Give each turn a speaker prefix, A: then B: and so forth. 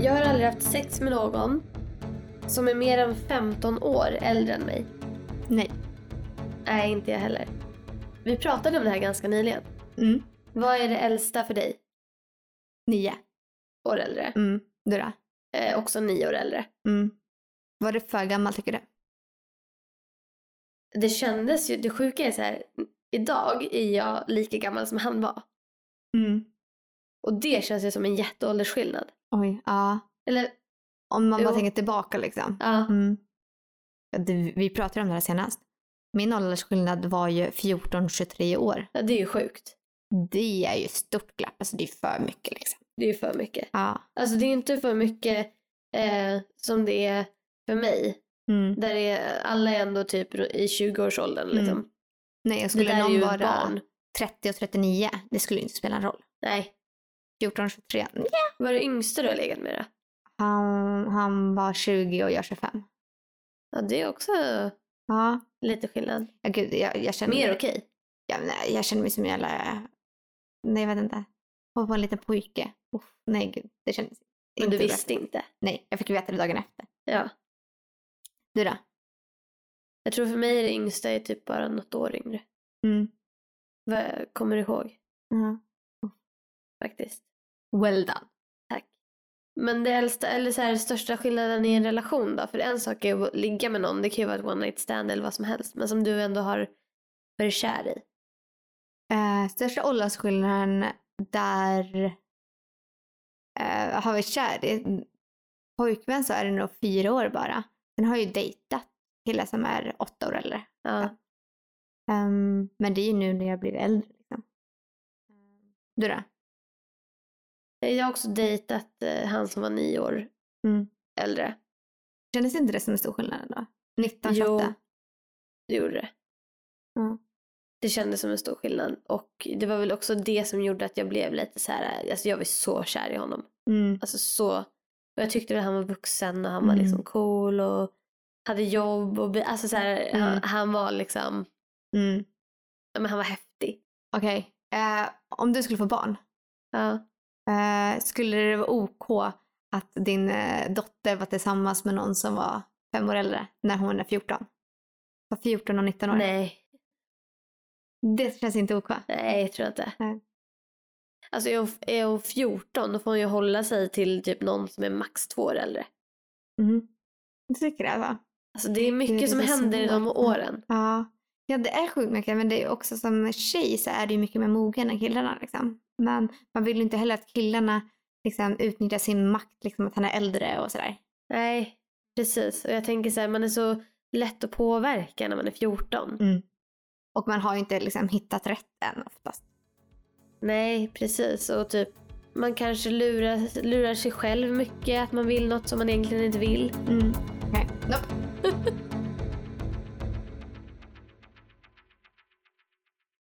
A: Jag har aldrig haft sex med någon som är mer än 15 år äldre än mig.
B: Nej.
A: Nej, inte jag heller. Vi pratade om det här ganska nyligen.
B: Mm.
A: Vad är det äldsta för dig?
B: Nio.
A: År äldre.
B: Mm. Du då?
A: Eh, också nio år äldre.
B: Mm. Var det för gammalt tycker du?
A: Det kändes ju, det sjuka är så här. idag är jag lika gammal som han var.
B: Mm.
A: Och det känns ju som en jätteåldersskillnad.
B: Oj, ja.
A: Eller,
B: Om man bara
A: Jo.
B: tänker tillbaka liksom.
A: ja.
B: Mm. Ja, det- Vi pratade om det här senast. Min åldersskillnad var ju 14-23 år.
A: ja, det är ju sjukt.
B: Det är ju stort glapp, alltså det är för mycket liksom.
A: Det är ju för mycket.
B: Ja.
A: Alltså det är ju inte för mycket eh, som det är för mig.
B: Mm.
A: Där det är, alla är ändå typ i 20-årsåldern liksom.
B: Mm. Nej, och
A: Det
B: skulle
A: där är
B: någon
A: ju
B: vara
A: barn.
B: 30 och 39, det skulle ju inte spela en roll.
A: Nej.
B: 14 och 23,
A: Vad är det yngsta du har legat med då?
B: han, han var 20 och jag 25.
A: Ja, det är också
B: Ja,
A: lite skillnad.
B: ja gud, jag, jag känner
A: Mer okej.
B: jag, nej, jag känner mig som en jävla... Nej, jag vet inte. Hon var en liten pojke. Uff, nej, gud. Det kändes
A: Men du
B: inte bra.
A: visste inte.
B: Nej, jag fick veta det dagen efter.
A: Ja.
B: Du då?
A: Jag tror för mig är det yngsta är typ bara något år yngre.
B: Mm.
A: Vad jag kommer ihåg faktiskt.
B: Well done.
A: Men det äldsta, eller så här, största skillnaden i en relation då? För en sak är att ligga med någon, det kan ju vara ett one night stand eller vad som helst. Men som du ändå har varit kär i.
B: Eh, största åldersskillnaden där eh, har vi kär i pojkvän så är det nog fyra år bara. Den har ju dejtat killar som är åtta år äldre.
A: Ja.
B: Ehm, men det är ju nu när jag blir äldre. Liksom. Du då?
A: Jag har också dejtat eh, han som var nio år
B: Mm.
A: äldre.
B: Kändes inte det som en stor skillnad då? 19,
A: Jo.
B: 28?
A: Det gjorde det.
B: Ja.
A: Det kändes som en stor skillnad. Och det var väl också det som gjorde att jag blev lite så här, alltså jag var så kär i honom.
B: Mm.
A: Alltså så. Och jag tyckte väl han var vuxen och han var
B: Mm.
A: liksom cool och hade jobb och bi- alltså så här, han,
B: Mm.
A: han var liksom,
B: Mm.
A: ja, men han var häftig.
B: Okej. Eh, om du skulle få barn,
A: Ja.
B: eh, skulle det vara OK att din eh, dotter var tillsammans med någon som var fem år äldre när hon är 14? Var 14 och 19 år?
A: Nej,
B: Det känns inte OK.
A: nej jag tror inte.
B: Nej.
A: Alltså är hon, är hon 14 då får hon ju hålla sig till typ någon som är max två år äldre.
B: Mm. Du tycker det va?
A: Alltså det är mycket
B: Det är
A: som
B: lite
A: händer Mm. i de
B: svårt.
A: åren.
B: Ja. Ja det är sjukt mycket men det är också som tjej så är det ju mycket mer mogen än killarna liksom. Men man vill ju inte heller att killarna liksom utnyttjar sin makt liksom att han är äldre och sådär.
A: Nej, precis. Och jag tänker så här, man är så lätt att påverka när man är 14.
B: Och man har ju inte liksom hittat rätt än oftast.
A: Nej, precis. Och typ, man kanske lurar, lurar sig själv mycket att man vill något som man egentligen inte vill.
B: Okej. Nope.